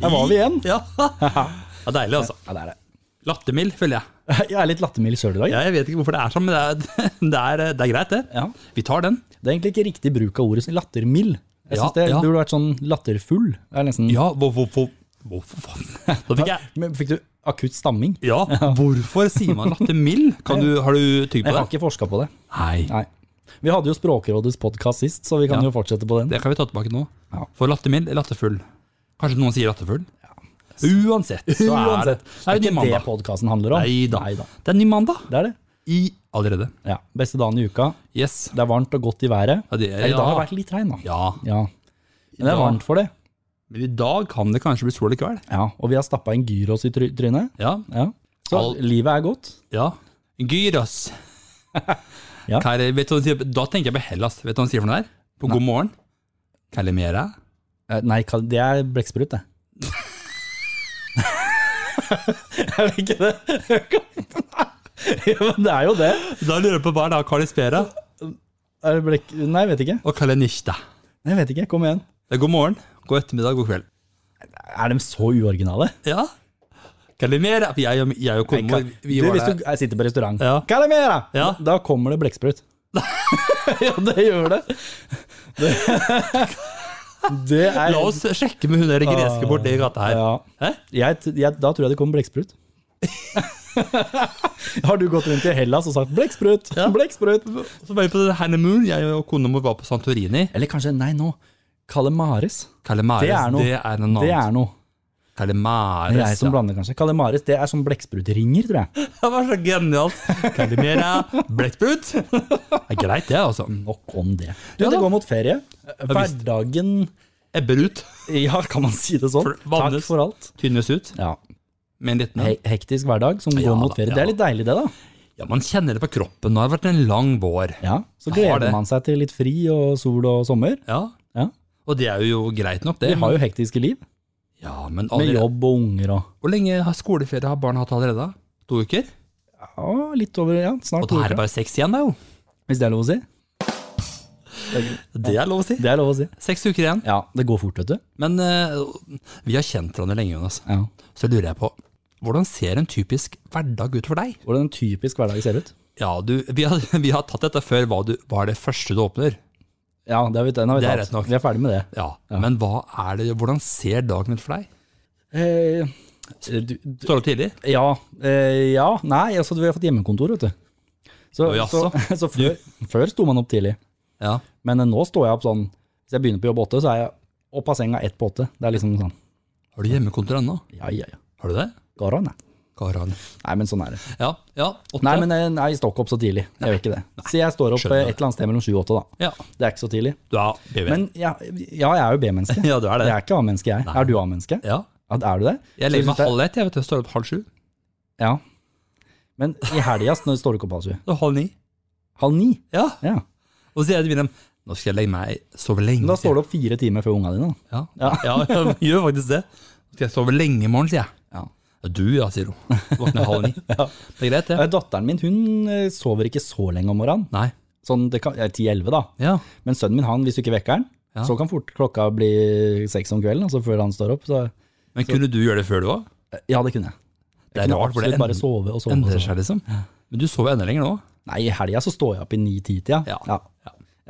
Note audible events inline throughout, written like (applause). Her var vi igjen. (laughs) Ja. ja deilig, altså. Ja, det er det. Lattermild, føler jeg. Jeg er litt lattermild sjøl i dag. Ja, jeg vet ikke hvorfor det er sånn, men det er, (laughs) det er, det er greit, det. Ja. Vi tar den. Det er egentlig ikke riktig bruk av ordet sånn lattermild. Jeg Ja, synes det ja. burde vært sånn latterfull. Det er nesten, Ja, hvor- hvor- hvor- hvorfor faen? (laughs) Da fikk jeg Men Fikk du akutt stamming? (laughs) Ja, hvorfor sier man lattermild? Kan du, har du tygd Jeg på har det? ikke forska på det. Nei. Nei. Vi hadde jo Språkrådets podkast sist, så vi kan Ja. jo fortsette på den. Det kan vi ta tilbake nå. Ja. For lattermild er latterfull. Kanskje noen sier latterfull? Uansett, så er det, Uansett, det ikke er jo ny det mandag. podkasten handler om. Nei da. Neida. Det er ny mandag Det er det. i allerede. Ja. Beste dagen i uka. Yes. Det er varmt og godt i været. Ja, det er- Eller, I dag har det ja. vært litt regn, da. Ja. Ja. Men det er varmt for det. Men i dag kan det kanskje bli sol i kveld. Ja. Og vi har stappa en gyros i try- trynet. Ja. Ja. Så Al- livet er godt. ja. Gyros. (laughs) Ja. Kar, vet du, hva han sier? da tenker jeg på Hellas. Vet du hva han sier for noe der? På God morgen? Kalimera? Eh, Nei, kal- det er blekksprut, det. (laughs) er det ikke det? (laughs) ja, men det er jo det. Da lurer jeg på hva er da Kalispera Er det blekk... Nei, jeg vet ikke. og Kalinishta? Jeg vet ikke, Kom igjen. Det er god morgen, god ettermiddag, god kveld. Er de så uoriginale? Ja. Kalimera. For jeg, og- jeg og kona Nei, vi du, var hvis der. du sitter på restaurant Ja. Kalimera! Ja. Da kommer det (laughs) blekksprut. ja, det gjør det. Det, det er La oss sjekke med hun der greske borti gata her. ja. Hæ? jeg, t- jeg, Da tror jeg det kommer (laughs) blekksprut. Har du gått rundt i Hellas og sagt 'blekksprut'? Ja. blekksprut? Så var vi på den honeymoon. Jeg og kona vår var på Santorini. Eller kanskje Nei, nå. Kalemares. Calamares, Det er noe. Det er noe Det annet. er noe. Calamares, Det er jeg som ja. blander, kanskje. Kalemares det er som blekksprut-ringer, tror jeg. (laughs) Det var så genialt. Calimera, blekksprut. Det er greit, det, altså. Nok om det. Du, Ja da. det går mot ferie. visst. Hverdagen Ebber ut. Ja, kan man si det sånn? For- vannes. Takk for alt. Tynnes ut. Ja. Med en liten He hektisk hverdag som Ja går mot da, ferie. Det ja er da. litt deilig, det, da. Ja, man kjenner det på kroppen. Nå har det vært en lang vår. Ja, Så Jeg har gleder det. man seg til litt fri og sol og sommer. Ja. Ja. Og det er jo greit nok, det. Vi har jo hektiske liv, Ja, men med allerede, jobb og unger og Hvor lenge har skoleferie har barna hatt allerede? da? To uker? ja, litt over ja, snart Og da to er det uker, bare seks igjen, da jo. Hvis det er lov å si. Det er lov å si. Det er lov å si. Seks uker igjen. Ja, det går fort, vet du. Men eh, vi har kjent hverandre lenge, Jonas. Ja. Så lurer jeg på, hvordan ser en typisk hverdag ut for deg? Hvordan en typisk hverdag ser ut. Ja, du, vi har, (laughs) vi har tatt dette før. Hva, du, hva er det første du åpner? Ja, det har vi, den har vi Det er tatt. rett nok. Vi er ferdig med det. Ja, Men hva er det, hvordan ser dagen ut for deg? Eh, du, du, Står du opp tidlig? ja, eh, ja, nei, altså vi har fått hjemmekontor, vet du. Så, Å, så, jaså. så (laughs) før, før sto man opp tidlig. Ja. Men eh, nå står jeg opp sånn Hvis jeg begynner på jobb åtte, så er jeg opp av senga ett på åtte. Det er liksom sånn Har du hjemmekontor ennå? Ja, ja, ja. Har du det? Garan, jeg. Karan. Nei, men sånn er det. Ja. ja, åtte. Nei, men eh, nei, jeg står ikke opp så tidlig. Jeg gjør ikke det. Så jeg står opp eh, Skjønner et det. eller annet sted mellom sju og åtte, da. Ja, Det er ikke så tidlig. du er baby. Men ja, ja jeg er jo B-menneske. ja, du er det. Jeg er ikke A-menneske, jeg. Er du A-menneske? Ja. Ja, Er du det? Jeg Så legger synes meg halv ett, jeg vet du. Jeg Står opp halv sju. Ja. Men i helga sn- står du ikke opp halv sju. Og halv ni. Halv ni? Ja. Ja. Og så sier jeg til Wilhelm nå skal jeg legge meg sove lenge. Men da sier står du opp fire timer før unga dine. da. jeg. Ja. (laughs) ja, jeg gjør faktisk det. Nå skal jeg sove lenge i morgen, sier jeg. Ja. Ja, du ja, sier hun. Våkner halv (laughs) ni. Det er greit, det. Eh, Datteren min hun eh, sover ikke så lenge om morgenen. Nei. Sånn det kan- ja, 10-11, da. Ja. Men sønnen min, han, hvis du ikke vekker han, Ja. så kan fort klokka bli seks om kvelden, altså før han står opp. Så eh, Men kunne du gjøre det før du var? ja, det kunne jeg. Det er kunne rart, for det absolutt bare endrer, sove og sove. Og endrer sove. seg, liksom. Men du sover enda lenger nå. Nei, i helga så står jeg opp i ni-ti-tida. Ja. Ja.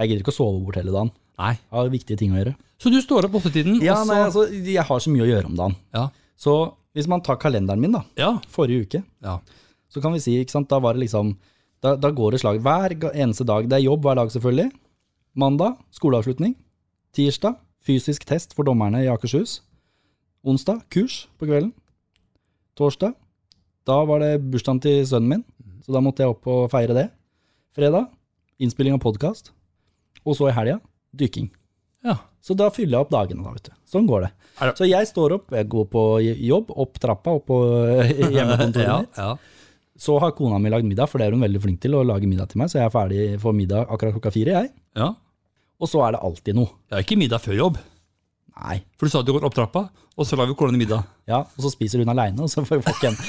Jeg gidder ikke å sove bort hele dagen. Nei. Jeg har viktige ting å gjøre. Så du står opp åttetiden, Ja, og så nei, altså, jeg har så mye å gjøre om dagen. ja. Så hvis man tar kalenderen min, da, ja. forrige uke, Ja. så kan vi si, ikke sant, da var det liksom Da, da går det slag hver ga- eneste dag. Det er jobb hver dag, selvfølgelig. Mandag skoleavslutning. Tirsdag fysisk test for dommerne i Akershus. Onsdag kurs på kvelden. Torsdag da var det bursdagen til sønnen min, så da måtte jeg opp og feire det. Fredag innspilling av podkast. Og så i helga dykking. ja. Så da fyller jeg opp dagene, da, vet du. Sånn går det. Er det- Så jeg står opp, jeg går på jobb, opp trappa, opp på eh, (laughs) hjemmekontoret ja, mitt. ja. Så har kona mi lagd middag, for det er hun veldig flink til å lage middag til meg, så jeg er ferdig for middag akkurat klokka fire, jeg. ja. Og så er det alltid noe. Jeg har ikke middag før jobb. Nei. For du sa at du går opp trappa, og så lager vi kona middag. Ja, og så spiser hun aleine, og så får jeg ikke en.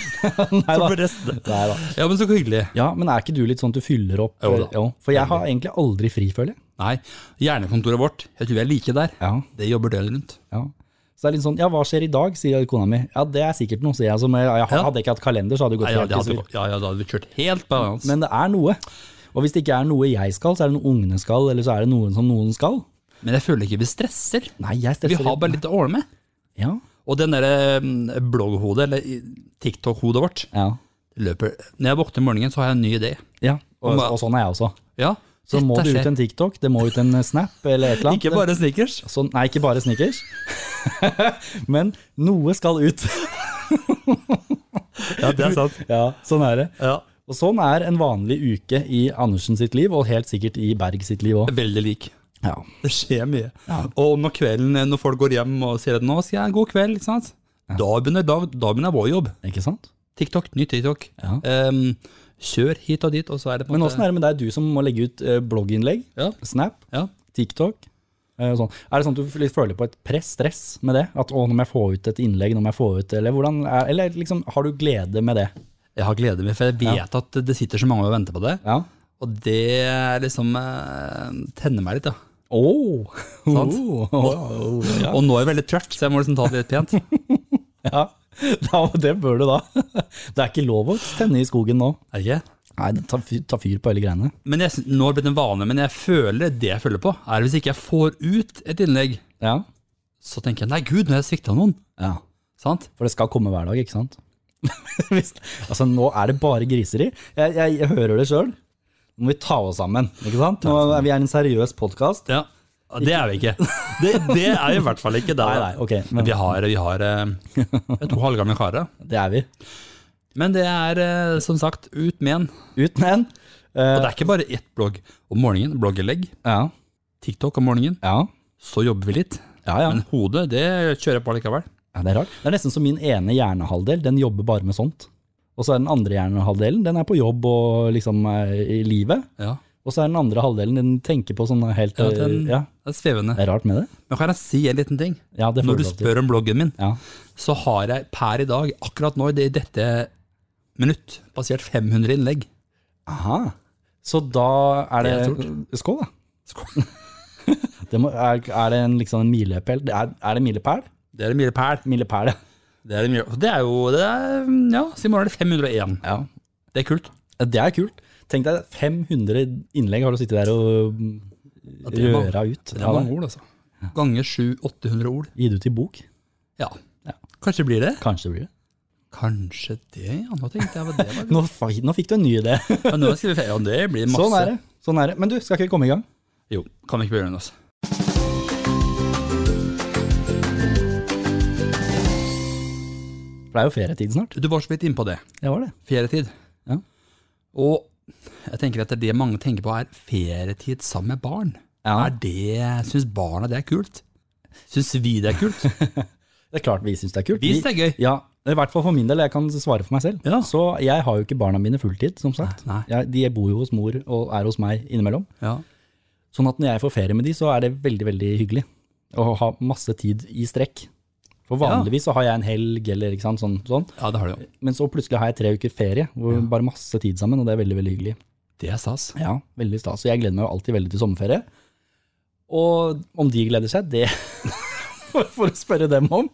(laughs) Nei Så da. blir resten- Nei da. Ja, men så hyggelig. Ja, men er ikke du litt sånn at du fyller opp? Jo da. for jeg har egentlig aldri fri, føler jeg. Nei, hjernekontoret vårt, jeg tror vi er like der. Ja, Det jobber døgnet rundt. ja. Så det er litt sånn, ja, hva skjer i dag, sier kona mi. Ja, det er sikkert noe, sier jeg. Som, jeg, jeg Ja. hadde jeg ikke hatt kalender, så hadde det gått Nei, ja, helt det i hadde, surr. gått- ja, ja, da hadde vi kjørt helt på hans. Men Men, det er noe. Og hvis det ikke er noe jeg skal, så er det noe ungene skal, eller så er det noen som noen skal. jeg føler ikke vi stresser. Nei, jeg Vi stresser har bare litt å ordne med. Ja, Og den derre mm, blogghodet, eller i- TikTok-hodet vårt, ja. løper Når jeg våkner om morgenen, så har jeg en ny idé. ja. Og, Og- og sånn er jeg også. Ja, Så må dette det ut skjer. en TikTok, det må ut en Snap eller et eller annet. Ikke bare sneakers. Sånn, nei, ikke bare sneakers. (laughs) Men noe skal ut. Ja, det er sant. (laughs) Ja, sånn er det. Ja. Og sånn er en vanlig uke i Andersen sitt liv, og helt sikkert i Berg sitt liv òg. Veldig lik. Ja. Det skjer mye. Og når kvelden, eh, når folk går hjem og sier at nå skal jeg god kveld, ikke sant? Da, begynner, da, da begynner vår jobb. Ikke sant? TikTok, ny TikTok. Ja. Ehm, kjør hit og dit, og så er det på en Men åssen er det med deg, du som må legge ut eh, blogginnlegg, Ja. Snap, Ja. TikTok? eh, og Sånn. Er det sånn at du litt føler på et press, stress med det? At å, nå må jeg få ut et innlegg, nå må jeg få ut Eller, hvordan er, eller liksom, har du glede med det? Jeg har glede meg, for jeg vet at det sitter så mange og venter på det. Ja. Og det er liksom eh, tenner meg litt, da. Oh. Sant? Oh. Ja. Og nå er jeg veldig trøtt, så jeg må liksom ta det litt pent. (laughs) ja. Da, det bør du da. (laughs) Det er ikke lov å tenne i skogen nå. Er det ikke? Nei, ta, fyr- ta fyr på hele greiene. Men jeg, syns- nå har det blitt en vane, men jeg føler det jeg føler på, er hvis ikke jeg får ut et innlegg, Ja. så tenker jeg nei, gud, nå har jeg svikta noen. ja. Sant? For det skal komme hver dag, ikke (laughs) sant? Hvis, altså, nå er det bare griseri. Jeg, jeg, jeg hører det sjøl. Nå må vi ta oss sammen. ikke sant? Nå, er vi er en seriøs podkast. Ja, det er vi ikke. Det, det er vi i hvert fall ikke. Det, Nei, nei, ok. Men Men vi har, vi har eh, to halvgamle karer. det er vi. Men det er eh, som sagt ut med en. Ut med en. Og Eh, det er ikke bare ett blogg om morgenen. Bloggelegg, ja. TikTok om morgenen. Ja. Så jobber vi litt. Ja, ja. Men hodet, det kjører jeg på likevel. ja. Det er rart. Det er nesten som min ene hjernehalvdel. Den jobber bare med sånt. Og så er den andre hjernehalvdelen den er på jobb og liksom eh, i livet. Ja, Og så er den andre halvdelen den tenker på sånn helt Ja, eh, den- ja. det er svevende. Det er rart med det. Men kan jeg si en liten ting? Ja, det får Når du lov til. spør om bloggen min, Ja. så har jeg per i dag, akkurat nå, i dette minutt, passert 500 innlegg. Aha. Så da er det, Det er Skål, (laughs) da. Skål. Det må, er, er det en, liksom en milepæl? Det Er, er det milepæl? Det er en milepæl. Milepæl, ja. Det er, en mile- det er jo det er, Ja, så i morgen er det 501. ja. Det er kult. Det er kult. Tenk deg 500 innlegg har du sittet der og mm, det er røra ut. Det Ja, er da. mange ord, altså. Ganger 700-800 ord. Gi det ut i bok. Ja. Ja. Kanskje blir det? Kanskje det blir det. Kanskje det, ja. Nå tenkte jeg hva det var. Nå, fa- nå fikk du en ny idé. Ja, nå skal vi fe- ja, det blir (laughs) masse. Sånn er det. Sånn er det. Men du, skal ikke vi komme i gang? Jo, kan vi ikke begynne, altså. For det er jo ferietid snart. Du var så vidt innpå det. Det var det. Ferietid. Ja. Og jeg tenker at det mange tenker på er ferietid sammen med barn. Ja. Er det, Syns barna det er kult? Syns vi det er (laughs) kult? Det er klart vi syns det er kult. Vi syns det er gøy. Ja, i hvert fall for min del. Jeg kan svare for meg selv. Ja. Så jeg har jo ikke barna mine fulltid, som sagt. Nei. Jeg, de bor jo hos mor og er hos meg innimellom. Ja. Sånn at når jeg får ferie med de, så er det veldig, veldig hyggelig å ha masse tid i strekk. For vanligvis så har jeg en helg eller ikke sant, sånn, sånn. ja, det har du jo. Men så plutselig har jeg tre uker ferie, hvor bare masse tid sammen, og det er veldig, veldig hyggelig. Det er stas. Ja, veldig stas. Så jeg gleder meg jo alltid veldig til sommerferie. Og om de gleder seg, det (laughs) får å spørre dem om.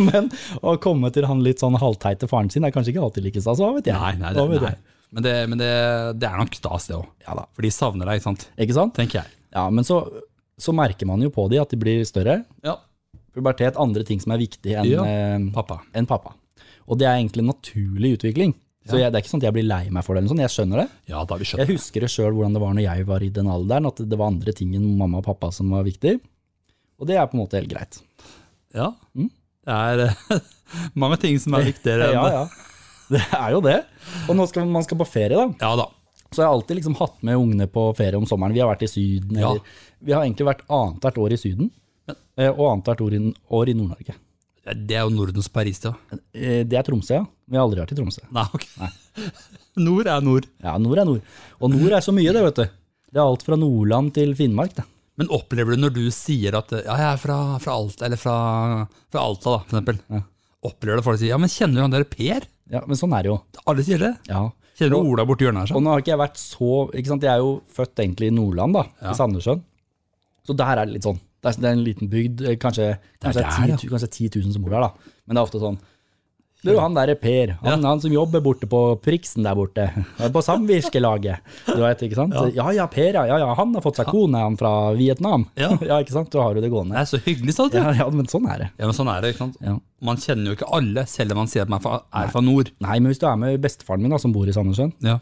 Men å komme til han litt sånn halvteite faren sin er kanskje ikke alltid like stas, hva vet jeg. Nei, nei, det, Hva vet nei. jeg. Men, det, men det, det er nok stas, det òg. Ja da. For de savner deg, ikke sant? Ikke sant? Tenker jeg. Ja, men så, så merker man jo på de at de blir større. Ja. Pubertet, andre ting som er viktig enn Ja. eh, Pappa. enn pappa. Og det er egentlig en naturlig utvikling. Så jeg, det er ikke sånn at jeg blir lei meg for det. eller noe sånt, Jeg skjønner det. Ja, da har vi skjønt. Jeg husker det sjøl hvordan det var når jeg var i den alderen, at det var andre ting enn mamma og pappa som var viktig. Og det er på en måte helt greit. Ja. Mm. Det er (laughs) eh, mange ting som er viktigere enn Ja, det. ja. Det er jo det. Og nå skal man skal på ferie, da. Ja da. Så jeg har alltid liksom hatt med ungene på ferie om sommeren. Vi har vært i Syden, Ja. eller Vi har egentlig vært annethvert år i Syden, eh, og annethvert år, i- år i Nord-Norge. Det er jo Nordens Paris, da. Eh, Det er Tromsø, ja. Vi har aldri vært i Tromsø. Nei, ok. (laughs) Nord er nord. Ja, nord er nord. Og nord er så mye, det, vet du. Det er alt fra Nordland til Finnmark, det. Men opplever du når du sier at ja, jeg er fra, fra Alta, eller fra, fra Alta, da, for eksempel. Opplever du at folk sier ja, men kjenner du han der Per? Ja, men sånn er det jo. Alle sier det. Ja. Kjenner du Ola borti hjørnet her? Og sånn? nå har ikke jeg vært så ikke sant? Jeg er jo født egentlig i Nordland, da, i Sandnessjøen. Så der er det litt sånn. Det er, det er en liten bygd, eh, kanskje, er kanskje, der, ja. 10, kanskje 10 000 som bor der, da. Men det er ofte sånn Du, han der er Per. Han, han som jobber borte på Priksen der borte. Han er På samvirkelaget. Du vet, ikke sant? Ja ja, Per, ja. ja, ja han har fått seg kone, han fra Vietnam. Ja. (laughs) ja, ikke sant? Da har du det gående. Det er så hyggelig, sa du. Ja, ja, men sånn er det. Ja, men sånn er det, ikke sant? Ja. Man kjenner jo ikke alle, selv om man sier at man er fra, er fra nord. Nei, men hvis du er med bestefaren min, da, som bor i Sandnessjøen, Ja.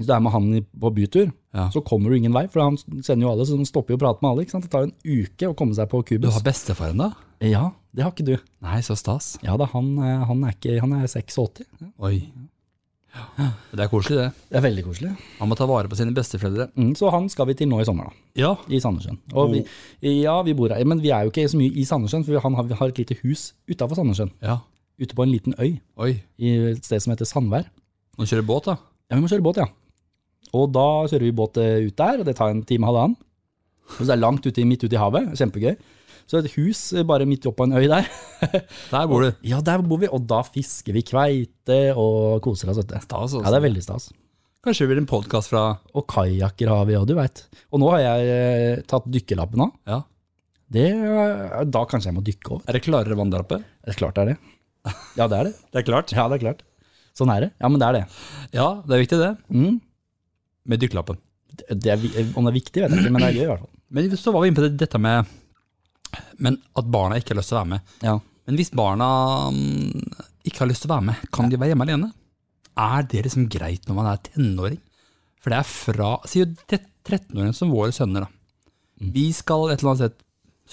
hvis du er med han i- på bytur, Ja. så kommer du ingen vei, for han sender jo alle, så de stopper jo å prate med alle. ikke sant? Det tar en uke å komme seg på Du kubus. har bestefaren, da? Ja, det har ikke du. Nei, så stas. Ja da, han, eh, han er, ikke, han er 86. Oi. Det er koselig, det. Det er veldig koselig. Man må ta vare på sine besteforeldre. Mm, så han skal vi til nå i sommer, da. Ja. I Sandnessjøen. Og vi, ja, vi bor her, men vi er jo ikke så mye i Sandnessjøen, for han har, vi har et lite hus utafor Sandnessjøen. ja. Ute på en liten øy Oi. i et sted som heter Sandvær. Nå kjører båt, da. Ja, vi må kjøre båt, ja. Og da kjører vi båt eh, ut der, og det tar en time, halvannen. Og så er det langt ute, i- midt ute i havet, kjempegøy. Så et hus eh, bare midt oppå en øy der. (laughs) Der bor du. Ja, der bor vi, og da fisker vi kveite og koser oss, vet du. Stas, altså. Ja, det er veldig stas. Kanskje det blir en podkast fra Og kajakker har vi, og du veit. Og nå har jeg eh, tatt dykkerlappen av. Ja. Det, eh, da kanskje jeg må dykke over. Er det klarere vanndrappe? Det er klart det (laughs) er det. Ja, det er det. Det er klart. Ja, det er klart. Sånn er det. Ja, men det er det. Ja, det er viktig, det. Mm. Med dykkerlappen. Det- Det er, vi- om det er viktig, vet jeg ikke, men det er gøy i hvert fall. Men så var vi inne på det, dette med men at barna ikke har lyst til å være med. Ja. Men hvis barna mm, ikke har lyst til å være med, kan de være hjemme alene? Er det liksom greit når man er tenåring? For det er fra Si jo tre- 13-åringen som våre sønner, da. Vi skal et eller annet sted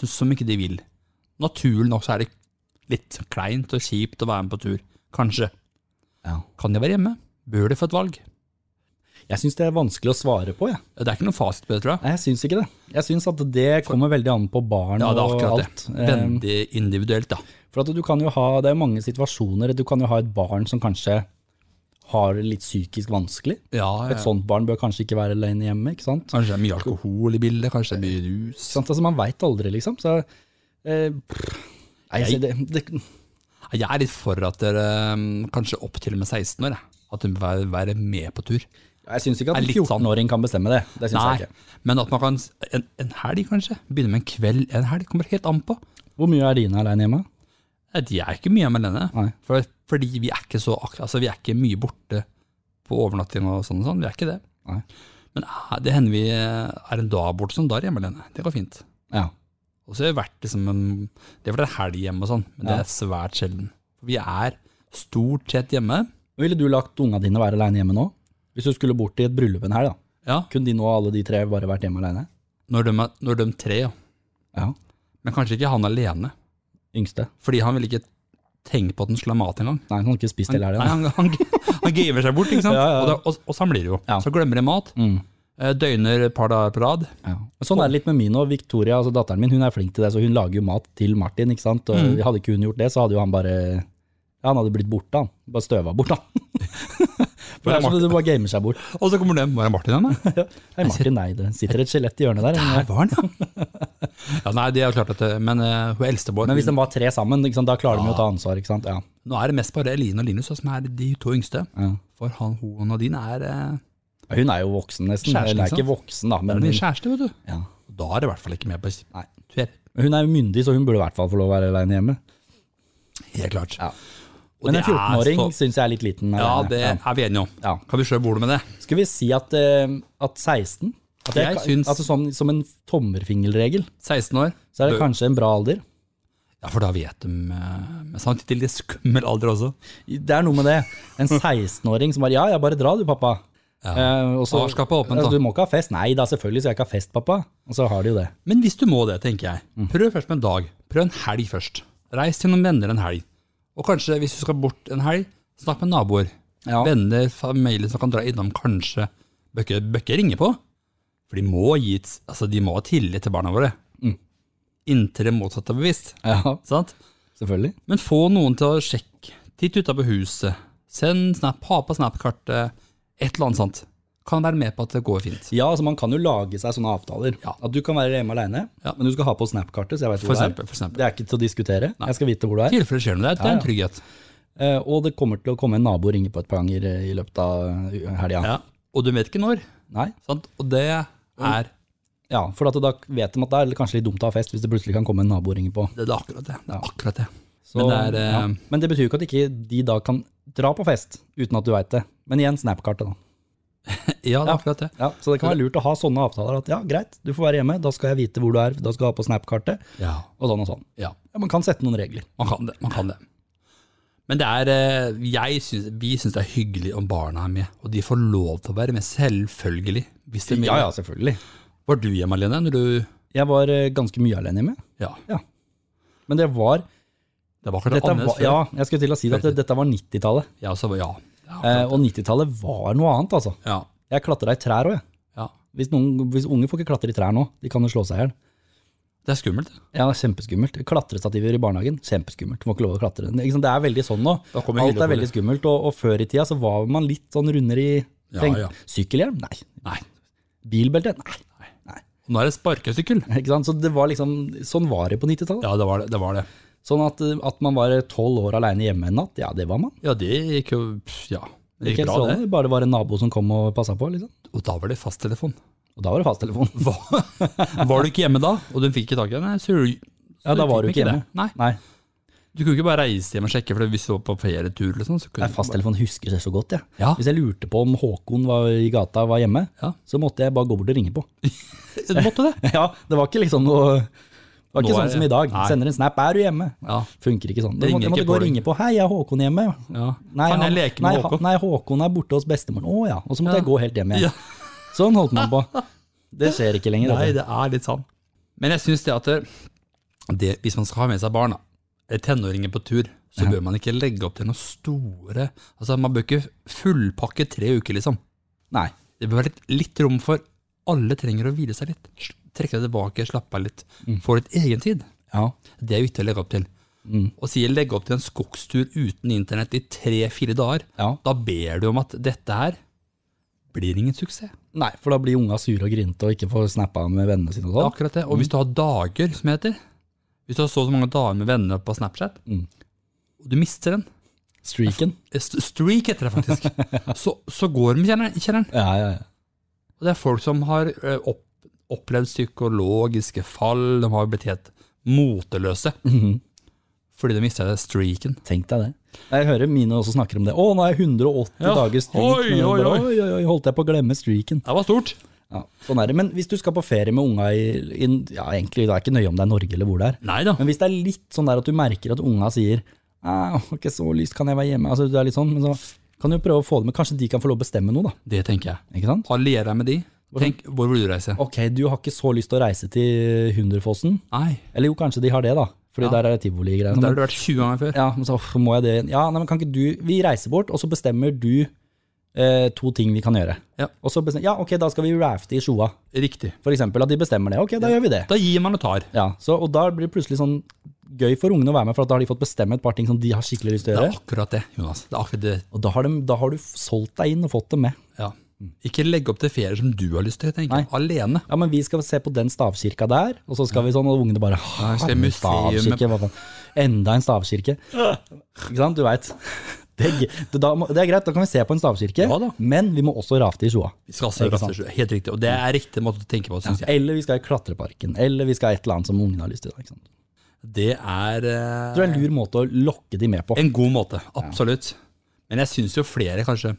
som- som ikke de vil. Naturlig nok så er det litt kleint og kjipt å være med på tur. Kanskje. ja. Kan de være hjemme? Bør de få et valg? Jeg syns det er vanskelig å svare på, jeg. Det er ikke noe fasit på det, tror jeg. Nei, Jeg syns ikke det. Jeg syns at det kommer veldig an på barn Ja, det er og akkurat alt. det. Veldig individuelt, da. Eh, For at du kan jo ha, det er mange situasjoner du kan jo ha et barn som kanskje har det litt psykisk vanskelig. Ja, Et sånt barn bør kanskje ikke være alene hjemme, ikke sant? Kanskje det er mye alkohol i bildet, kanskje det er mye rus. Ikke sant? Altså, man veit aldri, liksom. Så eh, pff, Nei, Jeg- så det, det, Jeg er litt for at dere um, kanskje opp til og med 16 år, jeg. at hun bør være med på tur. jeg syns ikke at Er en litt sånn. 14-åring kan bestemme det. Det syns jeg Nei, ikke. men at man kan s- en, en helg kanskje, begynne med en kveld, en helg, kommer helt an på. Hvor mye er dine alene hjemme? Nei, De er ikke mye hjemme alene, Nei. for, fordi vi er ikke så, ak- altså vi er ikke mye borte på overnatting og sånn og sånn, vi er ikke det. Nei. Men eh, det hender vi eh, er en dag borte som da er hjemme alene, det går fint. Ja. Og så har det vært liksom en, det har vært en helg hjemme og sånn, men det Ja. er svært sjelden. Vi er stort sett hjemme, Ville du lagt unga dine være alene hjemme nå? Hvis du skulle bort i et bryllup en helg, da. ja, Kunne de nå alle de tre bare vært hjemme alene? når de, er- når de tre, ja. Ja. Men kanskje ikke han alene. Yngste. Fordi han ville ikke tenke på at han skulle ha mat engang. Nei, han har ikke spist hele helga. Nei, han, han, han gamer seg bort, ikke sant? (laughs) Ja, ja, ja. Og, da, og, og sånn blir det jo. Ja. Så glemmer de mat, Mm. eh, døgner et par dager på rad. Ja. Men Sånn er det litt med min og Victoria, altså datteren min. Hun er flink til det, så hun lager jo mat til Martin. ikke sant? Og Mm. Hadde ikke hun gjort det, så hadde jo han bare ja, han hadde blitt borte, han. Bare støva bort, (laughs) han. For det er som Martin. du bare gamer seg bort. Og så kommer de, hvor er Martin igjen da? Nei, Martin, nei, det sitter et skjelett i hjørnet (laughs) der. Der var han, ja. (laughs) ja nei, det er jo klart at, det- men eh, hun eldste vår, Men hvis de var tre sammen, ikke sant? da klarer de jo å ta ansvar. ikke sant? Ja. nå er det mest bare Eline og Linus da, som er de to yngste. Ja. For han, hun og din er, eh, Hun er jo voksen, nesten. Kjæresten, Eller ikke er sant? ikke voksen, da, er men din hun, kjæreste, vet du. ja. Da er det i hvert fall ikke med på Nei. tur. Men hun er jo myndig, så hun burde i hvert fall få lov å være alene hjemme. Helt klart. Ja. Og Men en det er 14-åring så- syns jeg er litt liten. Ja, alene. det er vi enige om. Ja. Kan vi slå i bordet med det? Skal vi si at, eh, at 16 at Jeg kan- syns- altså sånn, Som en tommerfingerregel, 16 år. så er det Bø- kanskje en bra alder. Ja, for da vet de eh, Men samtidig litt skummel alder også. Det er noe med det. (laughs) En 16-åring som bare Ja, ja, bare dra du, pappa. Eh, og så- Barskapet er åpent, da. altså, Du må ikke ha fest. Nei da, selvfølgelig skal jeg ikke ha fest, pappa. Og så har de jo det. Men hvis du må det, tenker jeg, prøv først med en dag. Prøv en helg først. Reis til noen venner en helg. Og kanskje, hvis du skal bort en helg, snakk med naboer. Ja. Venner, familie som kan dra innom, kanskje. Bøkke, bøkke ringer på. For de må, gi, et- altså, de må ha tillit til barna våre. Inntil det motsatte er bevisst. Ja, Sant? selvfølgelig. Men få noen til å sjekke. Titt utenpå huset. Send snap, ha på Snap-kartet. Et eller annet sånt. Kan være med på at det går fint. Ja, altså Man kan jo lage seg sånne avtaler. Ja. At du kan være hjemme aleine, Ja. men du skal ha på Snap-kartet, så jeg vet hvor For du er. eksempel. For eksempel. Det er ikke til å diskutere. Jeg skal vite hvor du er. Tilfelle skjer noe der, det er en trygghet. Eh, og det kommer til å komme en nabo og ringe på et par ganger eh, i løpet av helga. Ja. Og du vet ikke når. Nei. Sant? Og det er Ja, for at da vet de at det er kanskje litt dumt å ha fest hvis det plutselig kan komme en nabo og ringe på. Det er akkurat det. det, er akkurat det. Så, Men det er, eh, ja. Men det betyr jo ikke at ikke de da kan dra på fest uten at du veit det. Men igjen, Snap-kartet, da. Ja, det er akkurat det. Ja, så det kan være lurt å ha sånne avtaler. At ja, greit, du får være hjemme, da skal jeg vite hvor du er, da skal jeg ha på Snap-kartet, Ja. og sånn og sånn. ja. Ja, man kan sette noen regler. Man kan det. man kan det. Men det er, eh, jeg synes, vi syns det er hyggelig om barna er med, og de får lov til å være med, selvfølgelig. Hvis de vil. Ja, ja, selvfølgelig. Var du hjemme alene når du Jeg var eh, ganske mye alene hjemme. Ja, Ja. Men det var, det var akkurat dette annerledes. var før. Ja, jeg skulle til å si det, at det, dette var 90-tallet. Ja, så, ja. Ja, Eh, og 90-tallet var noe annet, altså. ja, Jeg klatra i trær òg, jeg. ja. Hvis, noen, hvis unge får ikke klatre i trær nå, de kan jo slå seg i hjel. Det er skummelt. Ja, det er kjempeskummelt. Klatrestativer i barnehagen, kjempeskummelt. Må ikke lov å klatre. Ikke sant, Det er veldig sånn nå. Da kommer Alt er hylla på veldig det. skummelt, og, og før i tida så var man litt sånn rundere i Ja, tenk- ja. Sykkelhjelm? Nei. Nei. Bilbelte? Nei. (laughs) Nei. Og nå er det sparkesykkel. Ikke sant? Så det var liksom, sånn var det på 90-tallet. Ja, det var det. det, var det. Sånn at, eh, at man var tolv år aleine hjemme en natt, ja, det var man. Ja, det gikk jo pff, Ja, Ikke det gikk helt bra, strålende, det. Bare var en nabo som kom og passa på, liksom. Og da var det fasttelefon. Og da var det fasttelefon. (laughs) Hva- (laughs) Var du ikke hjemme da, og du fikk ikke tak i henne? Så, du- Ja, så da var du fikk ikke det. hjemme. Nei, (laughs) Nei, Du kunne ikke bare reise hjem og sjekke, for hvis du var på ferietur eller sånn, så kunne nei fasttelefon husker jeg så godt, jeg. Ja. Hvis jeg lurte på om Håkon var i gata var hjemme, Ja. så måtte jeg bare gå bort og ringe på. Ja, Du måtte det. (laughs) Ja, det var ikke liksom noe Det var Nå ikke er sånn det- som i dag. Nei. Sender en snap, er du hjemme? Ja. Funker ikke sånn. Du Ringer måtte, jeg ikke måtte gå på og det. ringe på. Hei, er Håkon hjemme? ja. Nei, kan jeg han- leke nei, med ha- Håkon? Nei, Håkon er borte hos bestemoren. Å ja. Og så måtte jeg gå helt hjem igjen. Ja. Sånn holdt man (laughs) på. Det sånn. skjer ikke lenger. Nei, vet du. det er litt sant. Men jeg syns det at det, det, hvis man skal ha med seg barn, da, eller tenåringer på tur, så bør man ikke legge opp til noen store Altså, Man bør ikke fullpakke tre uker, liksom. Nei. Det bør være litt, litt rom for alle trenger å hvile seg litt. Trekke seg tilbake, slappe av litt. Mm. Få litt egen tid. Ja. Det er viktig å legge opp til. Å si legge opp til en skogstur uten internett i tre-fire dager, ja. da ber du om at dette her blir ingen suksess. Nei, for da blir unga sure og grinte og ikke får snappa med vennene sine og Det er sånn. akkurat det. Og hvis du har dager, som det heter Hvis du har så og så mange dager med venner på Snapchat, Mm. og du mister den Streaken. eh, st- Streak heter det faktisk. så, så går de i kjelleren- i kjelleren. Ja, ja, ja. Og det er folk som har eh, opp, opplevd psykologiske fall, de har blitt helt moteløse. Fordi de mista streaken. Tenk deg det. Jeg hører mine også snakker om det. Å, nå er jeg 180 Ja. dager streak. Oi, men jeg oi, bare, oi. oi, oi, oi, holdt jeg på å glemme streaken. Det var stort. Ja, sånn er det. Men hvis du skal på ferie med unga i, i ja, egentlig, det er ikke nøye om det er Norge eller hvor det er, Nei da. men hvis det er litt sånn der at du merker at unga sier «Ah, det var ikke så lyst, kan jeg være hjemme? Altså, det er litt sånn, men så kan du jo prøve å få det med. Kanskje de kan få lov å bestemme noe, da. Det tenker jeg. Ikke sant? Allier deg med de. Tenk, hvor vil du reise? Ok, du har ikke så lyst til å reise til Hunderfossen. Nei, Eller jo, kanskje de har det, da. Fordi Ja. der er det tivoli-greier. der Men- har du vært 20 ganger før. Ja, men så «Åh, må jeg det Ja, nei, men kan ikke du Vi reiser bort, og så bestemmer du eh, to ting vi kan gjøre. Ja. Og så bestemmer Ja, ok, da skal vi rafte i Sjoa, Riktig. for eksempel. At de bestemmer det. Ok, da gjør vi det. Da gir man og tar. Ja, så, Og da blir det plutselig sånn gøy for ungene å være med, for at da har de fått bestemme et par ting som de har skikkelig lyst til Det å er gjøre. akkurat det, Jonas. Det er akkurat det. Og da har, de, da har du f- solgt deg inn og fått dem med. Ja. Ikke legge opp til ferier som du har lyst til, tenker jeg. Alene. Ja, men vi skal se på den stavkirka der, og så skal vi sånn, og ungene bare Ja, vi «Hæ, skal i en museum. Stavkirke, hva faen. Enda en stavkirke. Ikke sant, du veit. (laughs) Det, er g- det, da må- det er greit, da kan vi se på en stavkirke, Ja da. men vi må også rafte i Sjoa. Vi skal se Ikke sant? raster, Helt riktig. Og det er riktig måte å tenke på, syns jeg. Eller vi skal i klatreparken, eller vi skal et eller annet som ungene har lyst til. Ikke sant? Det er eh, Det er en lur måte å lokke de med på. en god måte. Absolutt. Men jeg syns jo flere kanskje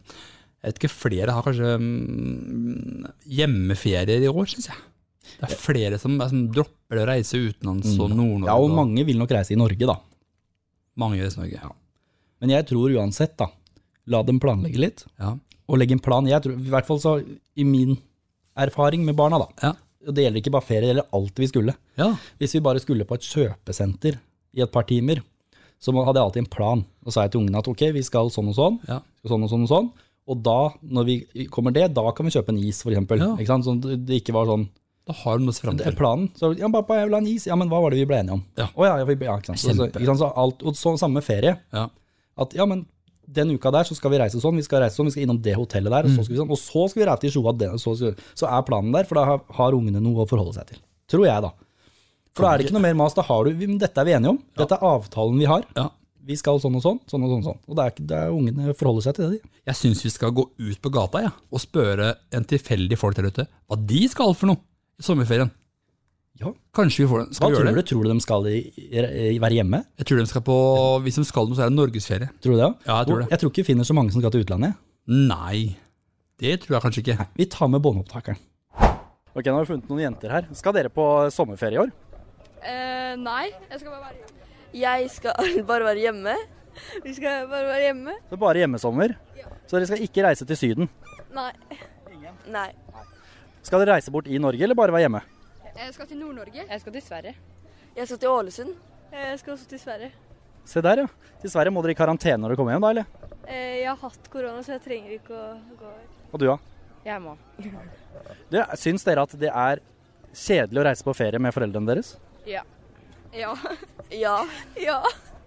Jeg vet ikke, flere har kanskje mm, hjemmeferier i år, syns jeg. Det er flere som, som dropper å reise utenlands og Nord-Norge. Mm. Ja, og mange vil nok reise i Norge, da. mange i Norge. Ja. Men jeg tror uansett, da, la dem planlegge litt, Ja. og legge en plan. Jeg tror, I hvert fall så i min erfaring med barna, da. Ja. Og det gjelder ikke bare ferie, det gjelder alt vi skulle. ja. Hvis vi bare skulle på et kjøpesenter i et par timer, så må- hadde jeg alltid en plan. Da sa jeg til ungene at ok, vi skal sånn og sånn, Ja. og sånn og sånn og sånn. Og da, når vi kommer det, da kan vi kjøpe en is, for eksempel. Ja. Ikke sant? Sånn at det ikke var sånn Da har du noe fram Det er til. planen. Så, ja, pappa, jeg vil ha en is. Ja, men hva var det vi ble enige om? Ja. Å ja, ja, vi, ja ikke sant. Så, så, Kjempe. ikke sant? Så alt, og så, samme ferie. Ja. At ja, men den uka der så skal vi reise sånn, vi skal reise sånn, vi skal innom det hotellet der, og Mm. så skal vi sånn, og så skal vi reise til Sjoa, det- og så, skal- så er planen der, for da har, har ungene noe å forholde seg til. Tror jeg, da. For da er det ikke noe mer mas. Da har du, vi- men dette er vi enige om. Dette er avtalen vi har. ja. Vi skal sånn og sånn, sånn og sånn. Og, sånn. og det er, ikke- det er ungene forholder seg til det, de. Jeg syns vi skal gå ut på gata ja, og spørre en tilfeldig folk der ute hva de skal for noe i sommerferien. Ja. Kanskje vi får den. Hva Skal vi tror du? gjøre det? Tror du de skal i, i, i, være hjemme? Jeg tror de skal på, Hvis de skal noe, så er det norgesferie. Tror du det? ja? Ja, jeg tror det. Jeg tror ikke vi finner så mange som skal til utlandet. Nei, det tror jeg kanskje ikke. Vi tar med båndopptakeren. Ok, Nå har vi funnet noen jenter her. Skal dere på sommerferie i år? Eh, nei, jeg skal bare være hjemme. Jeg skal (laughs) bare være hjemme. Vi skal bare være hjemme. Så bare hjemmesommer? Så dere skal ikke reise til Syden? Nei. Nei. Skal dere reise bort i Norge, eller bare være hjemme? Jeg skal til Nord-Norge. Jeg skal til Sverige. Jeg skal til Ålesund. Eh, Jeg skal også til Sverige. Se der, ja. Til Sverige må dere i karantene når dere kommer hjem, da, eller? Eh, jeg har hatt korona, så jeg trenger ikke å gå. Og du, ja. Jeg må. Du, syns dere at det er kjedelig å reise på ferie med foreldrene deres? Ja. Ja. Ja. Ja.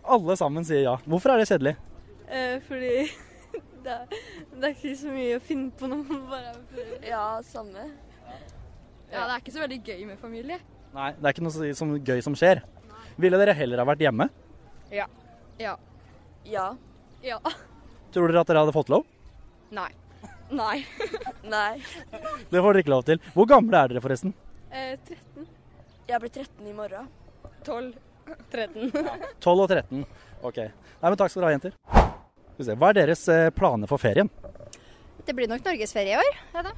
Alle sammen sier ja. Hvorfor er det kjedelig? Eh, fordi (laughs) det er, det er ikke så mye å finne på når man bare er med foreldre. Ja, samme. Ja, det er ikke så veldig gøy med familie. Nei, det er ikke noe så- som gøy som skjer. Ville dere heller ha vært hjemme? Ja. Ja. Ja. Ja. Tror dere at dere hadde fått lov? Nei. Nei. (laughs) Nei. Det får dere ikke lov til. Hvor gamle er dere, forresten? Eh, 13. Jeg blir 13 i morgen. 12. 13. 12 og 13. Ok. Nei, men Takk skal dere ha, jenter. Skal vi se, Hva er deres eh, planer for ferien? Det blir nok norgesferie i år.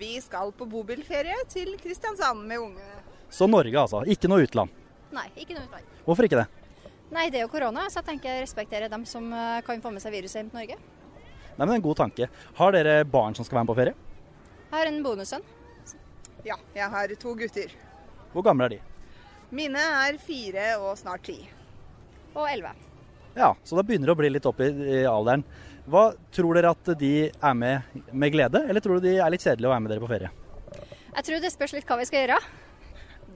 Vi skal på bobilferie til Kristiansand med ungene. Så Norge, altså. Ikke noe utland. Nei, ikke noe utland. Hvorfor ikke det? Nei, det er jo korona, så jeg tenker jeg respekterer dem som eh, kan få med seg viruset hjem til Norge. Nei, men En god tanke. Har dere barn som skal være med på ferie? Jeg har en bonussønn. Ja, jeg har to gutter. Hvor gamle er de? Mine er fire og snart ti. Og elleve. Ja, Så da begynner det å bli litt opp i, i alderen. Hva Tror dere at de er med med glede, eller tror du de er litt kjedelige å være med dere på ferie? Jeg tror det spørs litt hva vi skal gjøre.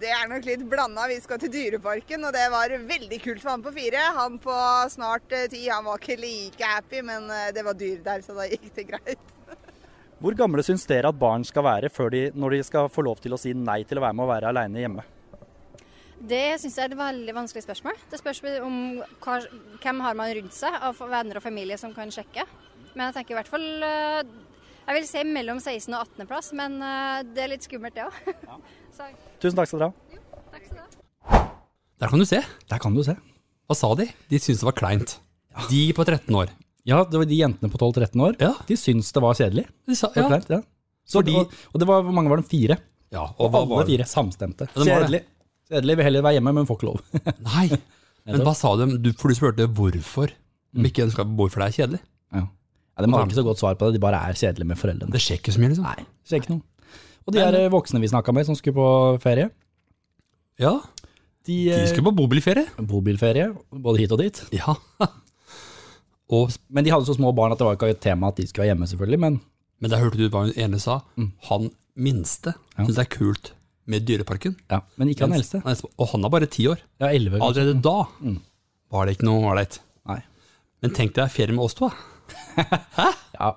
Det er nok litt blanda. Vi skal til Dyreparken, og det var veldig kult for han på fire. Han på snart eh, ti, han var ikke like happy, men eh, det var dyr der, så da gikk det greit. Hvor gamle syns dere at barn skal være før de, når de skal få lov til å si nei til å være med og være aleine hjemme? Det syns jeg er et veldig vanskelig spørsmål. Det spørs om hva, hvem har man rundt seg av venner og familie som kan sjekke. Men jeg tenker i hvert fall eh, Jeg vil si mellom 16. og 18. plass, men eh, det er litt skummelt, det òg. Tusen takk skal dere ha. Der kan du se. Der kan du se. Hva sa de? De syntes det var kleint. De på 13 år. Ja, det var de jentene på 12-13 år. Ja. De syns det var kjedelig. De sa, Det var ja. kleint, ja. Så Fordi- det var, og det var, hvor mange var de? Fire? ja. Og Og hva alle var det? fire samstemte. Ja, de var Kjedelig. det. Kjedelig, vil heller være hjemme, men får ikke lov. (laughs) Nei. Men hva sa de? Du, for du spurte hvorfor. Mm. De ikke ønska hvorfor det er kjedelig. Ja. de har ikke så godt svar på det, de bare er kjedelige med foreldrene. Det skjer ikke så mye, liksom. Nei. Det skjer ikke noe. Og de her eh, voksne vi snakka med som skulle på ferie, Ja. de, De eh, skulle på bobilferie. bobilferie, både hit og dit. Ja. (laughs) Og, Men de hadde så små barn at det var ikke et tema at de skulle være hjemme, selvfølgelig. Men men da hørte du hva hun ene sa. Mm. Han minste syns det er kult med Dyreparken. Ja, men ikke han eldste. Mens- Og han er bare ti år. Ja, 11 kanskje. Allerede da var det ikke noe ålreit. Nei. Men tenk deg ferie med oss to. da. Ja.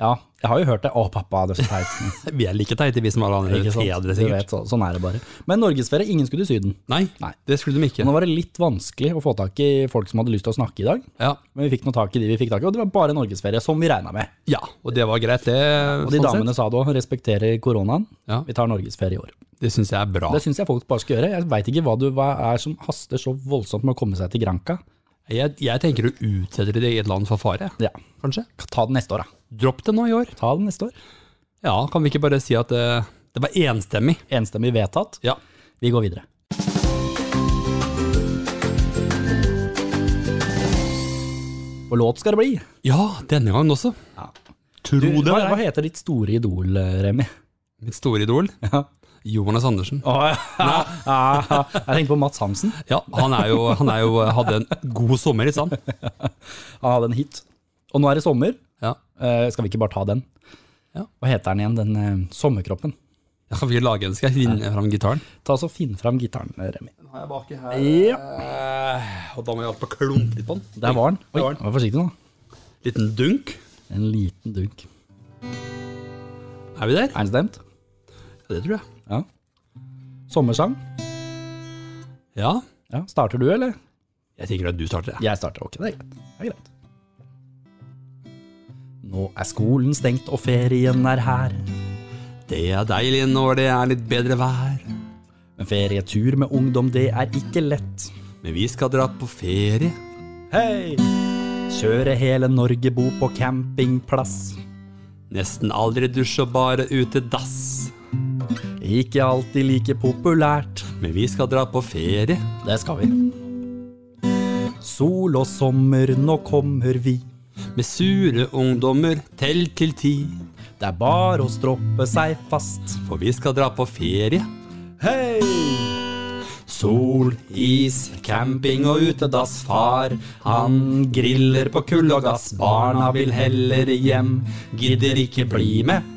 ja, jeg har jo hørt det. Å, pappa, det er så teit. (laughs) Vi er like teite, vi som alle andre Ikke sant? fedre, Du sikkert. vet, så, sånn er det bare. Men norgesferie, ingen skulle til Syden. Nei, Nei. det skulle de ikke. Nå var det litt vanskelig å få tak i folk som hadde lyst til å snakke i dag. Ja. Men vi fikk nå tak i de vi fikk tak i, og det var bare norgesferie, som vi regna med. ja, og det var greit, det. Og de sånn damene sett. sa det òg, respekterer koronaen. Ja. Vi tar norgesferie i år. Det syns jeg er bra. Det syns jeg folk bare skal gjøre. Jeg veit ikke hva, du, hva er som haster så voldsomt med å komme seg til Granca. Jeg, jeg tenker å utsette det i et land for fare, Ja, kanskje. ta det neste år, da. Dropp det nå i år. Ta det neste år. Ja, kan vi ikke bare si at eh, det var enstemmig? Enstemmig vedtatt. Ja. Vi går videre. Og låt skal det bli. Ja, denne gangen også. Tro Du, det hva, hva eller ei. heter ditt store idol, eh, Remi? Mitt store idol, Ja. Jonas Andersen. (laughs) Ja, Jeg tenkte på Mats Hansen. Ja, han, er jo, han er jo, hadde en god sommer, ikke sant? Han hadde en hit. Og nå er det sommer. Ja. Eh, skal vi ikke bare ta den? Ja. Hva heter den igjen, den eh, sommerkroppen? Jeg kan ikke lage en, skal jeg finne fram gitaren? Ta så Finn fram gitaren, eh, Remi. Har jeg baki her, Ja. Eh, og da må jeg opp og klumpe litt på den. Der var den. Oi, Der var den. vær forsiktig nå. Liten dunk. En liten dunk. Er vi der? Er den stemt? Det tror jeg. Ja. Sommersang. Ja, Ja, Starter du, eller? jeg tenker at du starter. jeg. Jeg starter. Ok, det er greit. Det er greit. Nå er skolen stengt og ferien er her. Det er deilig når det er litt bedre vær. Men ferietur med ungdom, det er ikke lett. Men vi skal dra på ferie. Hei! Kjøre hele Norge, bo på campingplass. Nesten aldri dusj og bare ute dass. Ikke alltid like populært. Men vi skal dra på ferie. Det skal vi. Sol og sommer, nå kommer vi. Med sure ungdommer tell til ti. Det er bare å stroppe seg fast. For vi skal dra på ferie. Hei! Sol, is, camping og utedass, far. Han griller på kull og gass, barna vil heller hjem. Gidder ikke bli med.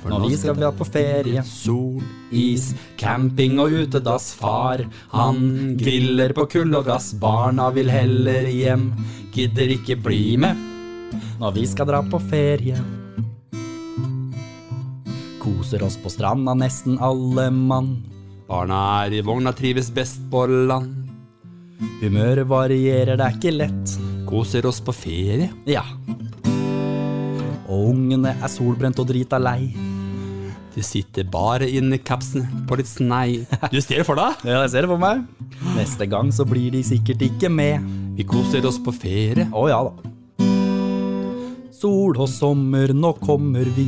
For Når vi skal være på ferie. Sol, is, camping og utedass, far. Han griller på kull og gass, barna vil heller hjem. Gidder ikke bli med. Når vi skal dra på ferie. Koser oss på stranda, nesten alle mann. Barna er i vogna, trives best på land. Humøret varierer, det er ikke lett. Koser oss på ferie. Ja. Og ungene er solbrent og drita lei. De sitter bare inni kapsen på litt snei. Du ser for deg? Ja, jeg ser det for meg. Neste gang så blir de sikkert ikke med. Vi koser oss på ferie Å ja da. Sol og sommer, nå kommer vi.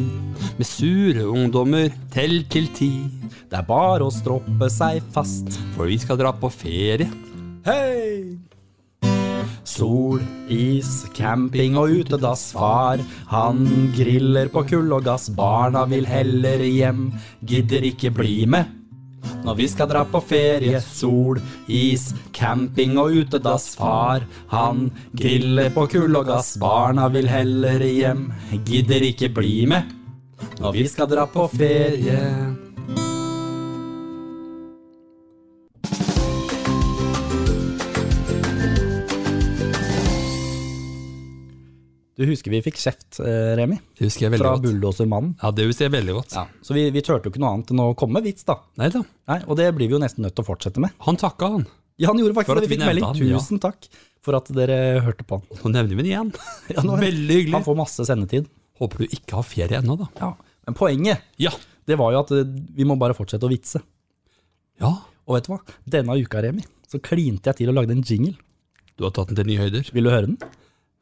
med sure ungdommer, tell til ti. Det er bare å stroppe seg fast. For vi skal dra på ferie. Hei! Sol, is, camping og utedass, far. Han griller på kull og gass, barna vil heller hjem. Gidder ikke bli med når vi skal dra på ferie. Sol, is, camping og utedass, far. Han griller på kull og gass, barna vil heller hjem. Gidder ikke bli med når vi skal dra på ferie. Du husker vi fikk kjeft, eh, Remi, Det husker jeg veldig fra godt. bulldosermannen. Ja, det husker jeg veldig godt. Ja, så vi, vi turte jo ikke noe annet enn å komme med vits, da. Nei da. Nei, og det blir vi jo nesten nødt til å fortsette med. Han takka, han. Ja, han gjorde faktisk For at det. Vi vi fikk melding. nevnte han, ja. Tusen takk for at dere hørte på han. Nå nevner vi den igjen. nå- veldig Han hyggelig. får masse sendetid. Håper du ikke har ferie ennå, da. Ja. Men poenget Ja. det var jo at eh, vi må bare fortsette å vitse. ja. Og vet du hva? Denne uka, Remi, så klinte jeg til og lagde en jingle. Du har tatt den til nye høyder. Vil du høre den?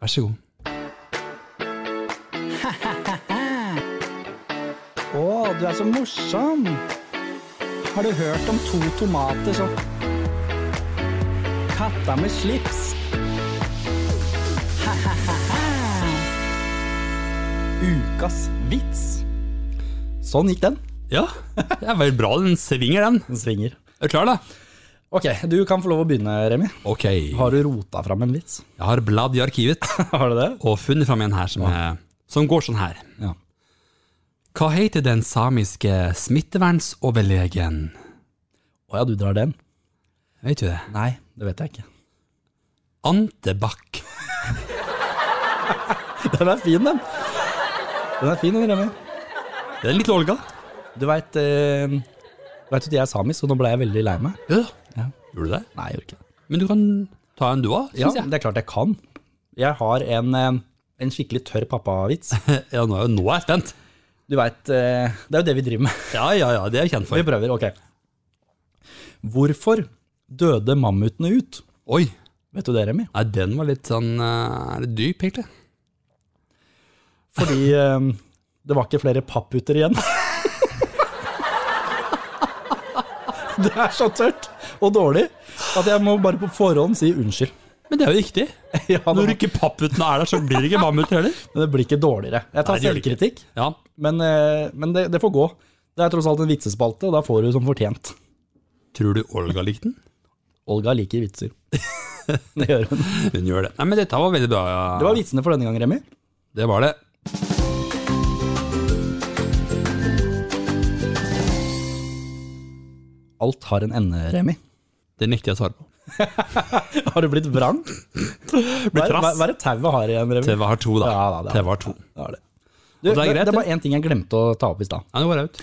Vær så god. Å, du er så morsom! Har du hørt om to tomater som Katta med slips! Ukas vits. Sånn gikk den. Ja, (laughs) det er vel bra. Den svinger, den. Den svinger. Er du klar, da? Ok, du kan få lov å begynne, Remi. Ok. Har du rota fram en vits? (laughs) Jeg har bladd i arkivet Har du det? og funnet fram en her som, er, som går sånn her. Ja. Hva heter den samiske smittevernsoverlegen? Å ja, du drar den? Vet du det? Nei, det vet jeg ikke. Antebakk. Den er fin, den. Den er fin, den, Remi. Det er en liten Olga. Du veit eh, du vet at jeg er samisk, og nå ble jeg veldig lei meg. Ja. Ja. Gjorde du det? Nei, jeg gjorde ikke det. Men du kan ta en du òg, Ja, syns jeg. det er klart jeg kan. Jeg har en, eh, en skikkelig tørr pappavits. Ja, nå er, nå er jeg spent. Du veit, eh, det er jo det vi driver med. Ja, ja, ja, det er jeg kjent Vi for. prøver, ok. Hvorfor døde mammutene ut? Oi. Vet du det, Remi? Nei, den var litt sånn eh, Er det dyp, egentlig? Fordi eh, det var ikke flere papputer igjen. (laughs) Det er så tørt og dårlig at jeg må bare på forhånd si (laughs) unnskyld. Men det er jo riktig. Ja, det, Når var- ikke papputene er der, så blir det ikke mammuter heller. men det blir ikke dårligere. Jeg tar Nei, det gjør det selvkritikk, Ja. men, eh, men det, det får gå. Det er tross alt en vitsespalte, og da får du som fortjent. Tror du Olga likte den? Olga liker (laughs) vitser. det gjør hun. Hun gjør det. Nei, men dette var veldig bra. Ja. Det var vitsene for denne gang, Remi. Det var det. Alt har en ende, (laughs) Remi. Det nekter jeg å svare på. Har du blitt vrang? Hva er- trass. hva- hva er det tauet har igjen, Remi? TV har to, da. Ja, da, det er- TV har to. Ja, det. Du, Og det det, er greit, det var én ting jeg glemte å ta opp i stad. Ja, nå går jeg ut.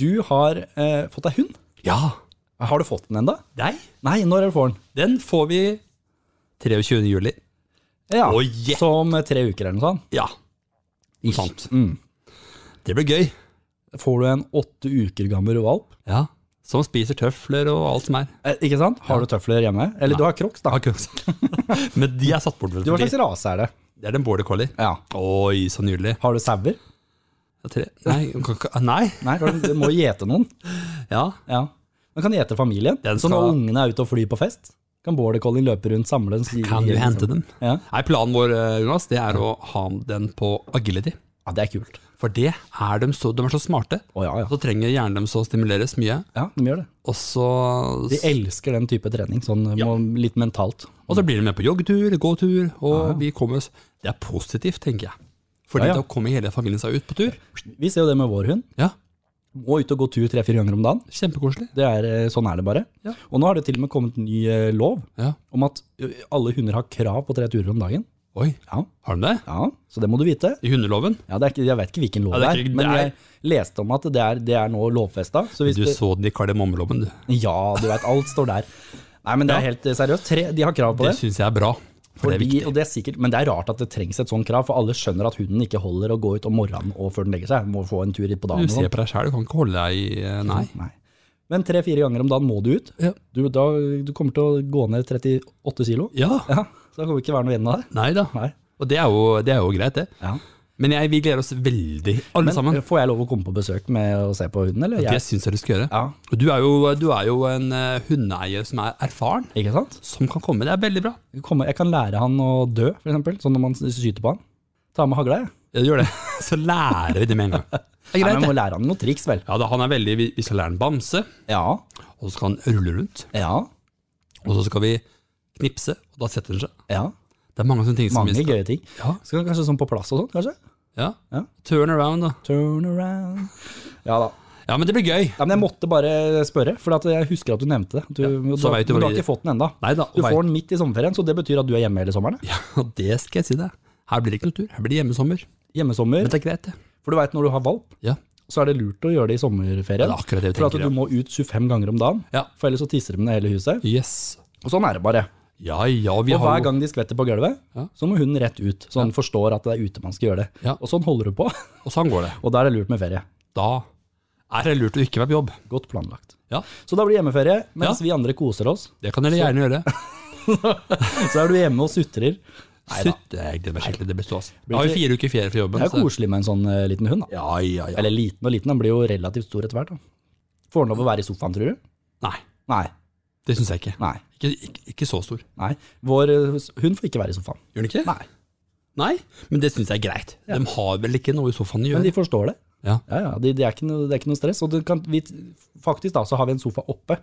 Du har eh, fått deg hund. Ja. Har du fått den ennå? Nei, Nei, når er det du får den? den får vi 23. juli. Ja, Å, yeah. Så om tre uker eller noe sånt. Ja. Sant. Mm. Det blir gøy. får du en åtte uker gammel valp. Ja. Som spiser tøfler og alt som er. Eh, ikke sant? Har Ja. du tøfler hjemme? Eller du har crocs, da. Har ikke (laughs) sagt. Men de er satt bort. vel, Du, hva fordi slags rase er det? Det er den border collie. Ja. Oi, så nydelig. Har du sauer? Det er tre- Nei, kan ikke- nei. Nei, du må jo gjete noen. Ja. Ja. Man kan gjete familien. Den Så når skal- ungene er ute og flyr på fest, kan border collien løpe rundt, samle den si- Kan du hente dem? Ja. Nei, planen vår eh, Jonas, det er å ha den på agility. ja, det er kult. For det er de, så, de er så smarte. Å ja, ja. Så trenger hjernen deres å stimuleres mye. Ja, de gjør det. Og så De elsker den type trening, sånn må, litt mentalt. Og så blir de med på joggetur, gåtur, og vi kommer oss Det er positivt, tenker jeg. Fordi Ja, ja. da kommer hele familien seg ut på tur. Vi ser jo det med vår hund. Ja, Må ut og gå tur tre-fire ganger om dagen. Kjempekoselig. Det er, eh, sånn er det bare. Ja. Og nå har det til og med kommet ny eh, lov Ja. om at ø, alle hunder har krav på tre turer om dagen. Oi, Ja, har de det? ja så det må du vite. I hundeloven? Ja, det er ikke, jeg vet ikke hvilken lov Ja, det det er er, ikke- men jeg det leste om at det er, det er nå lovfesta. Så hvis Du det- så den i kardemommeloven, du. Ja, du veit, alt står der. Nei, men det er Ja. helt seriøst. Tre, de har krav på det. Det syns jeg er bra. For det er Fordi, viktig. og det er sikkert, men det er rart at det trengs et sånt krav, for alle skjønner at hunden ikke holder å gå ut om morgenen og før den legger seg. Må få en tur på dagen. Du og ser sånn. på deg sjæl, du kan ikke holde deg i eh, Nei. Nei. Men tre-fire ganger om dagen må du ut. Ja. Du, da, du kommer til å gå ned 38 kilo. Ja, Ja, så da kommer det ikke være noe igjen av det. nei da. Nei. Og det er jo, det er jo greit, det. Ja. Men jeg, vi gleder oss veldig, alle Men eh, sammen. får jeg lov å komme på besøk med å se på hunden, eller? Det Jeg, syns jeg du skal gjøre. ja, Og Du er jo, du er jo en eh, hundeeier som er erfaren, ikke sant? som kan komme. Det er veldig bra. Jeg kommer- jeg kan lære han å dø, for eksempel, sånn når man skyter på han. Ta med hagla, jeg. Ja, gjør det. (laughs) Så lærer vi det med en gang. Det Nei, men er greit, jeg det. må lære han noen triks, vel. Ja, da, han er veldig, vi- vi skal lære han bamse, Ja, og så skal han rulle rundt. ja, Og så skal vi knipse, og da setter han seg. ja. Det er mange sånne ting som Mange vi skal gøye ting. Ja. Skal kanskje sånn på plass og sånn, kanskje? Ja. Ja. Turn around, da. Turn around. Ja da. Ja, men det blir gøy. Nei, men jeg måtte bare spørre, for at jeg husker at du nevnte det. Du, du, så har- vet du du hva har vi- ikke fått den enda. Nei da, Du og får vei- den midt i sommerferien, så det betyr at du er hjemme hele sommeren. (laughs) Ja, det skal jeg si deg. Her blir det ikke noe tur. Her blir det hjemmesommer. da. Hjemmesommer. Men det er greit, det. For du veit når du har valp, Ja. så er det lurt å gjøre det i sommerferien. Ja, det er akkurat det vi for at tenker, du ja. må ut 25 ganger om dagen, Ja. for ellers så tisser de ned hele huset. Yes. Og sånn er det bare. Ja, ja, vi Og har hver jo gang de skvetter på gulvet, Ja. så må hunden rett ut, så han forstår at det er ute man skal gjøre det. Ja. Og sånn holder du på, (laughs) Og sånn går det. og da er det lurt med ferie. Da er det lurt å ikke være på jobb. Godt planlagt. Ja. Så da blir det hjemmeferie, mens vi andre koser oss. Det kan dere gjerne gjøre. Så er du hjemme og sutrer. Neida. Sutt, jeg gleder meg skikkelig. Det blir stas. Jeg har jo ikke- fire uker ferie fra jobben. Det er så- jo koselig med en sånn eh, liten hund. da. Ja, ja, ja. Eller liten og liten, han blir jo relativt stor etter hvert. da. Får han lov å være i sofaen, tror du? Nei, Nei. det syns jeg ikke. nei, Ikke, ikke. Ikke så stor. nei. Vår eh, hund får ikke være i sofaen. Gjør den ikke? Nei. Nei, men det syns jeg er greit. De har vel ikke noe i sofaen å Men gjøre. de forstår det. Ja. Ja, ja, det, det, er ikke noe, det er ikke noe stress. Og det kan, vi, faktisk da, så har vi en sofa oppe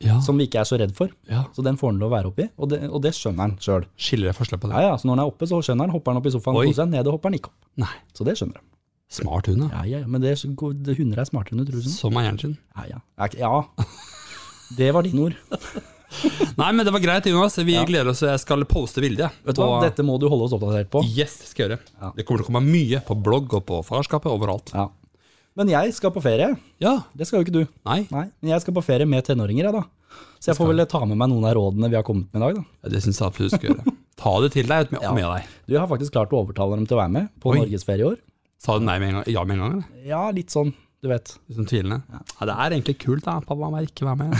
ja. som vi ikke er så redd for. Ja. Så den får han lov å være oppi, og det, og det skjønner han sjøl. Skiller jeg forskjell på det? Ja, ja, så når han er oppe, så skjønner han. Hopper han opp i sofaen, Oi. koser seg. Nede hopper han ikke opp. Nei. Så det skjønner han. Smart hund, da. Ja, ja, ja, men det er så god, det, hunder er smartere enn du tror. Sånn. Som er hjernen sin. Ja, ja. Er ikke- ja. Det var dine ord. Nei, men det var greit, Jonas. Vi gleder oss. Jeg skal poste bilde. jeg. Vet du hva? På- Dette må du holde oss oppdatert på. Yes, det skal jeg gjøre. Ja. Det kommer til å komme mye på blogg og på farskapet overalt. Ja. Men jeg skal på ferie. Ja. Det skal jo ikke du. Nei, Nei, Men jeg skal på ferie med tenåringer, jeg, da. Så jeg får vel ta med meg noen av rådene vi har kommet med i dag, da. det syns jeg absolutt du skal gjøre. Ta det til deg (laughs) og med, og med deg. Du, jeg har faktisk klart å overtale dem til å være med på Oi. norgesferie i år. Sa du nei med en gang? Ja med en gang, eller? Ja, litt sånn, du vet. Liksom tvilende. Ja. det er egentlig kult, da. Pappa må ikke være med.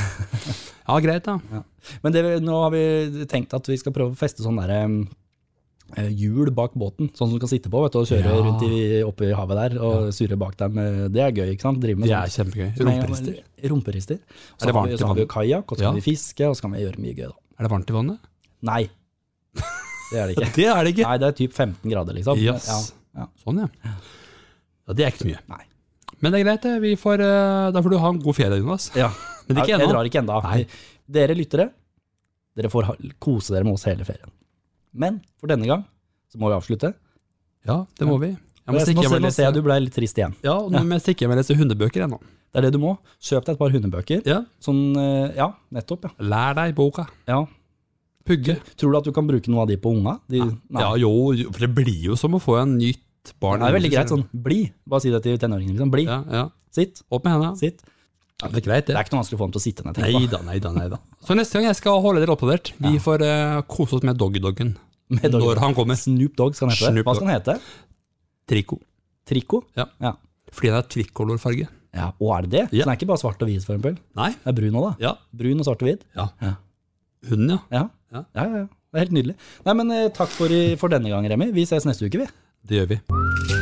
Ja, greit, da. Men det, nå har vi tenkt at vi skal prøve å feste sånn derre um, eh, hjul bak båten, sånn som du kan sitte på vet du, og kjøre Ja. rundt i, oppe i havet der og surre bak dem. Eh, Det er gøy, ikke sant? Drive med Det sånt. er kjempegøy. Som er- Rumperister. Rumperister. Er Så det har vi, varmt i så har vi jo vannet? kajak, og så kan Ja. vi fiske, og så kan vi gjøre mye gøy, da. Er det varmt i vannet? (laughs) Nei, det er det ikke. Det er det ikke. Nei, det er typ 15 grader, liksom. Yes. Ja, ja. Sånn, ja. ja. Det er ikke så mye. Nei. Men det er greit, det. Vi får, eh, da får du ha en god ferie, Jonas. Ja. Men ikke Jeg ennå. drar ikke ennå. Nei. Dere lyttere, dere får ha- kose dere med oss hele ferien. Men for denne gang så må vi avslutte. Ja, det må vi. Jeg må nå, stikke hjem ser, og nå ser lese, jeg du ble litt trist igjen. ja, og nå må jeg stikke hjem og lese hundebøker ennå. Det er det du må. Kjøp deg et par hundebøker. Ja. Sånn, eh, ja, nettopp, ja. Lær deg boka. ja. Pugge. Tror du at du kan bruke noe av de på unga? De, nei. Ja, jo, jo, for det blir jo som å få en nytt barn. Det er veldig greit sånn, bli. Bare si det til tenåringene. Liksom. Bli. Ja, ja. Sitt. Opp med henda. Sitt. Ja, det er greit, Det det. er ikke noe vanskelig å få dem til å sitte ned. Nei tenk da, nei da, nei da. Så neste gang jeg skal holde dere oppdatert. Vi får eh, kose oss med doggy-doggen. Med doggy. Når han på. kommer. Snoop Dogg skal han hete. Snoop Hva skal han hete? Trico. Trico? Ja. Fordi det er tricolorfarge. Ja, og er det det? Ja. Så den er ikke bare svart og hvit, for eksempel. Nei. Det er brun òg, da. Ja. Brun og svart og hvit. ja. Ja. Hunden, ja. Ja. Ja. Ja, ja, ja. Det er helt nydelig. Nei, men eh, takk for, i- for denne gang, Remi. Vi ses neste uke, vi. Det gjør vi.